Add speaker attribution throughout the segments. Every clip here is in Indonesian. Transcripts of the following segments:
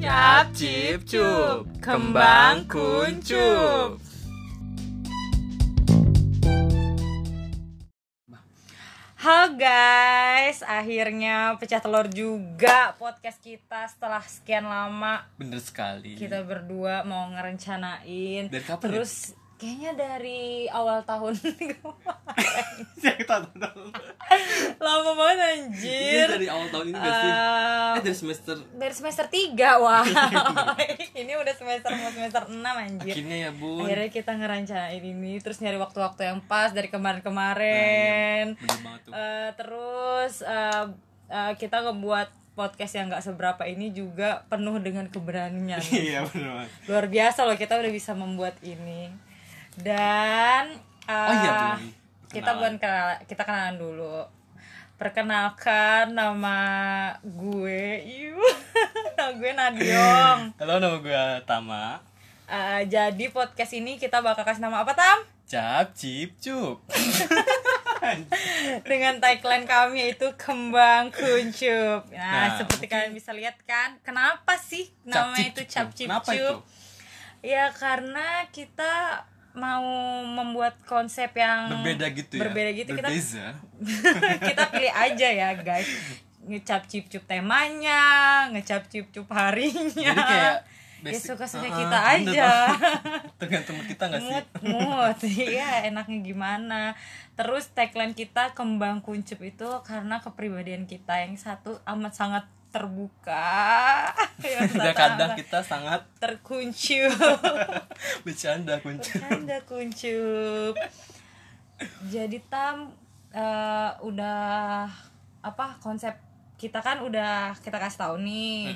Speaker 1: Cap cip cup, kembang kuncup.
Speaker 2: Halo guys, akhirnya pecah telur juga podcast kita setelah sekian lama
Speaker 1: Bener sekali.
Speaker 2: kita berdua mau ngerencanain.
Speaker 1: Dari kapan ya?
Speaker 2: Terus kayaknya dari awal tahun kemarin.
Speaker 1: Yang tak tahu.
Speaker 2: lama banget
Speaker 1: Iya,
Speaker 2: anjir. Ehm,
Speaker 1: dari awal tahun ini gak sih?
Speaker 2: Ah.
Speaker 1: Eh, dari semester
Speaker 2: dari semester 3 wah. Ini udah semester mau semester 6 anjir.
Speaker 1: akhirnya ya bun.
Speaker 2: Akhirnya kita ngerencanain ini terus nyari waktu-waktu yang pas dari kemarin-kemarin.
Speaker 1: Bener banget tuh.
Speaker 2: Eh, terus eh, eh, kita ngebuat podcast yang nggak seberapa ini juga penuh dengan keberanian.
Speaker 1: Iya bener banget.
Speaker 2: Luar biasa loh kita udah bisa membuat ini. Dan eh,
Speaker 1: Oh iya, belum.
Speaker 2: kita bukan kenal- kita kenalan dulu. Perkenalkan nama gue, Iu. nama gue Nadiong.
Speaker 1: Halo nama gue Tama.
Speaker 2: Eh, jadi podcast ini kita bakal kasih nama apa Tam?
Speaker 1: Cap cip cup.
Speaker 2: dengan tagline kami yaitu kembang kuncup. Nah,
Speaker 1: Nah,
Speaker 2: seperti kalian bisa lihat kan, kenapa sih
Speaker 1: Cap
Speaker 2: namanya
Speaker 1: cip
Speaker 2: itu
Speaker 1: cup.
Speaker 2: cap cip
Speaker 1: Kenapa itu?
Speaker 2: cup? Ya karena kita mau membuat konsep yang
Speaker 1: Berbeda gitu ya.
Speaker 2: Berbeda gitu kita
Speaker 1: Berbeza.
Speaker 2: kita pilih aja ya, guys. Ngecap cip cup temanya, ngecap cip cup harinya.
Speaker 1: Jadi kayak
Speaker 2: ya
Speaker 1: basic-
Speaker 2: suka-suka
Speaker 1: Ah,
Speaker 2: kita
Speaker 1: bener
Speaker 2: aja.
Speaker 1: Tergantung kita gak sih?
Speaker 2: mood mood iya enaknya gimana terus tagline kita kembang kuncup itu karena kepribadian kita yang satu amat sangat terbuka yang satu
Speaker 1: Kadang-kadang
Speaker 2: amat
Speaker 1: kita sangat
Speaker 2: terkuncup
Speaker 1: bercanda kunci.
Speaker 2: bercanda kuncup jadi tam eh, udah apa konsep kita kan udah kita kasih tahu nih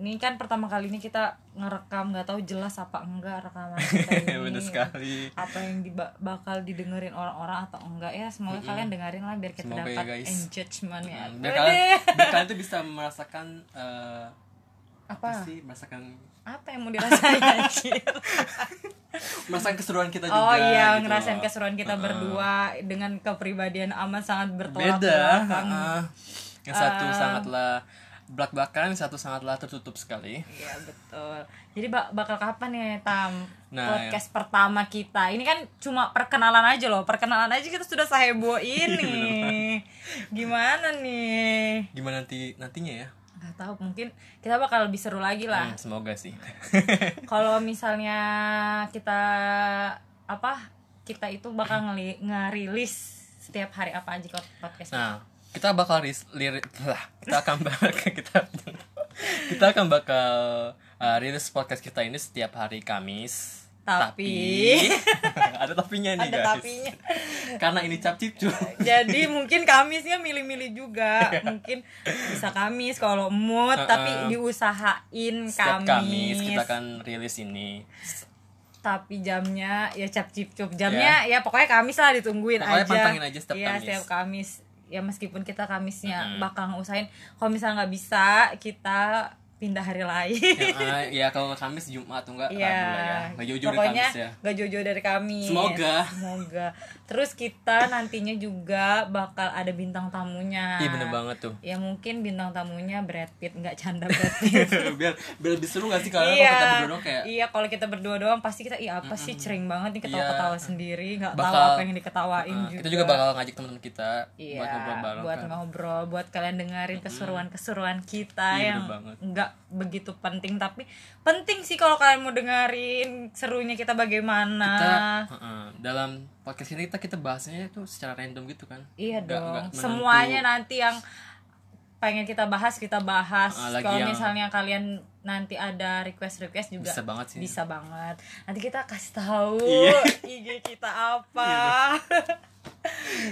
Speaker 2: ini kan pertama kalinya kita ngerekam nggak tahu jelas apa enggak rekaman kita ini
Speaker 1: Bener sekali.
Speaker 2: apa yang diba- bakal didengerin orang-orang atau enggak ya semoga kalian dengerin lah biar kita
Speaker 1: Semoga ya,
Speaker 2: dapat
Speaker 1: guys.
Speaker 2: engagement ya
Speaker 1: Hmm, biar kalian,
Speaker 2: Wede.
Speaker 1: biar kalian tuh bisa merasakan eh, apa?
Speaker 2: Apa?
Speaker 1: sih merasakan
Speaker 2: apa yang mau dirasain anjir
Speaker 1: merasakan keseruan kita juga
Speaker 2: oh iya
Speaker 1: gitu
Speaker 2: ngerasain
Speaker 1: loh.
Speaker 2: keseruan kita berdua dengan kepribadian amat sangat bertolak
Speaker 1: beda
Speaker 2: belakang
Speaker 1: heeh. yang satu
Speaker 2: Eh.
Speaker 1: sangatlah belak belakan yang satu sangatlah tertutup sekali
Speaker 2: Iya betul. Jadi bak- bakal kapan ya Tam
Speaker 1: Nah,
Speaker 2: podcast pertama kita? Ini kan cuma perkenalan aja loh. Perkenalan aja kita sudah seheboh
Speaker 1: Iya,
Speaker 2: ini. Gimana nih?
Speaker 1: gimana nanti nantinya ya
Speaker 2: Gak tahu mungkin kita bakal lebih seru lagi lah.
Speaker 1: Hmm, semoga sih
Speaker 2: Kalau misalnya kita apa? Kita itu bakal ngeli- ngerilis setiap hari apa aja kok podcast.
Speaker 1: nah kita bakal ris- lirik lah kita akan bakal kita kita akan bakal eh, rilis podcast kita ini setiap hari Kamis
Speaker 2: Tapi-
Speaker 1: Tapi- ada tapinya nih guys
Speaker 2: Ada tapinya.
Speaker 1: karena ini cap cip cuy
Speaker 2: Jadi mungkin Kamisnya milih-milih juga. Mungkin bisa Kamis kalau mood tapi diusahain
Speaker 1: setiap
Speaker 2: Kamis.
Speaker 1: Kamis kita kan- akan rilis ini
Speaker 2: Tapi jamnya ya cap cip cup. Jamnya ya pokoknya Kamis lah ditungguin
Speaker 1: Pokoknya
Speaker 2: aja.
Speaker 1: pantengin aja setiap
Speaker 2: Iya,
Speaker 1: Kamis.
Speaker 2: setiap Kamis. Ya meskipun kita Kamisnya bakal ngusahain kalau misalnya nggak bisa kita pindah hari lain.
Speaker 1: ya, ya kalau Kamis Jumat atau enggak Rabu lah ya
Speaker 2: Iya,
Speaker 1: nggak jujur dari
Speaker 2: pokoknya nah.
Speaker 1: Kamis ya
Speaker 2: nggak jauh-jauh dari Kamis.
Speaker 1: Semoga.
Speaker 2: Semoga. Terus kita nantinya juga bakal ada bintang tamunya.
Speaker 1: iya bener banget tuh
Speaker 2: ya mungkin bintang tamunya Brad Pitt nggak canda Brad Pitt
Speaker 1: biar biar lebih seru gak sih kalau
Speaker 2: iya
Speaker 1: kita berdua doang kayak
Speaker 2: iya kalau kita berdua doang pasti kita iya apa sih cering banget nih ketawa-ketawa
Speaker 1: Iya.
Speaker 2: sendiri nggak tahu
Speaker 1: Bakal-
Speaker 2: apa yang diketawain
Speaker 1: eh,
Speaker 2: juga
Speaker 1: kita juga bakal ngajak teman-teman kita
Speaker 2: Iya,
Speaker 1: buat ngobrol bareng
Speaker 2: buat
Speaker 1: kan.
Speaker 2: ngobrol, buat kalian dengerin keseruan-keseruan kita
Speaker 1: Iya,
Speaker 2: yang
Speaker 1: bener banget.
Speaker 2: nggak begitu penting tapi penting sih kalau kalian mau dengerin serunya kita bagaimana.
Speaker 1: kita heeh, dalam podcast ini kita kita bahasnya itu secara random gitu kan
Speaker 2: Iya
Speaker 1: Nggak-
Speaker 2: dong.
Speaker 1: nggak menentu.
Speaker 2: Semuanya nanti yang pengen kita bahas kita bahas.
Speaker 1: Ah, lagi
Speaker 2: Kalau
Speaker 1: yang-
Speaker 2: misalnya kalian nanti ada request-request juga
Speaker 1: Bisa banget sih.
Speaker 2: Bisa banget. Nanti kita kasih tahu
Speaker 1: Iya.
Speaker 2: IG kita apa.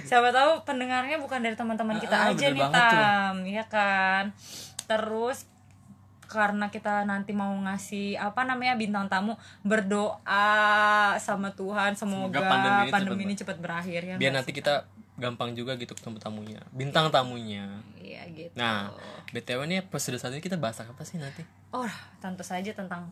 Speaker 2: Siapa tahu pendengarnya bukan dari teman-teman kita
Speaker 1: Ah, ah,
Speaker 2: aja
Speaker 1: bener
Speaker 2: nih
Speaker 1: banget tuh.
Speaker 2: Tam, iya kan. Terus karena kita nanti mau ngasih apa namanya bintang tamu berdoa sama Tuhan semoga,
Speaker 1: Semoga pandemi ini
Speaker 2: pandemi
Speaker 1: cepet
Speaker 2: ini cepat berakhir ya.
Speaker 1: biar
Speaker 2: nggak
Speaker 1: nanti kita gampang juga gitu ketemu tamunya bintang tamunya
Speaker 2: Iya gitu.
Speaker 1: nah btw nih episode saat ini kita bahas apa sih nanti
Speaker 2: Oh, tentu saja tentang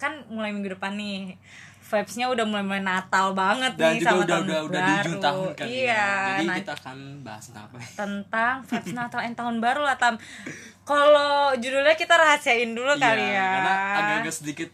Speaker 2: kan mulai minggu depan nih vibesnya udah mulai mulai Natal banget
Speaker 1: dan
Speaker 2: nih
Speaker 1: juga
Speaker 2: sama
Speaker 1: udah
Speaker 2: tahun
Speaker 1: udah udah di
Speaker 2: baru.
Speaker 1: ujung tahun kan ya.
Speaker 2: iya
Speaker 1: jadi
Speaker 2: nah,
Speaker 1: kita akan bahas tentang apa ya?
Speaker 2: tentang vibes Natal and tahun baru lah tam kalau judulnya kita rahasiain dulu kali
Speaker 1: Iya,
Speaker 2: ya
Speaker 1: karena agak-agak sedikit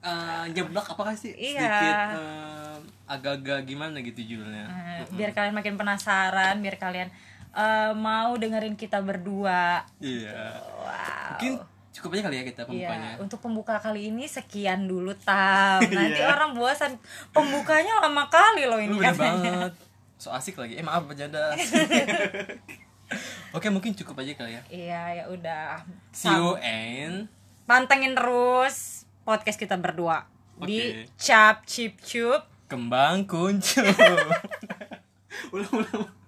Speaker 1: eh, nyeblak apakah sih
Speaker 2: Iya.
Speaker 1: sedikit eh, agak-agak gimana gitu judulnya
Speaker 2: Eh, biar kalian makin penasaran biar kalian eh, mau dengerin kita berdua
Speaker 1: iya
Speaker 2: wow
Speaker 1: mungkin cukup aja kali ya kita pembukanya
Speaker 2: Iya, untuk pembuka kali ini sekian dulu tam. Nanti orang bosan. Pembukanya lama kali loh ini
Speaker 1: Iya. lu bener
Speaker 2: katanya.
Speaker 1: banget so asik lagi eh maaf bercanda oke mungkin cukup aja kali ya
Speaker 2: Iya, ya udah.
Speaker 1: see you and
Speaker 2: Pantengin terus podcast kita berdua di
Speaker 1: Oke.
Speaker 2: Cap Cip Cup.
Speaker 1: kembang kuncup ulang ulang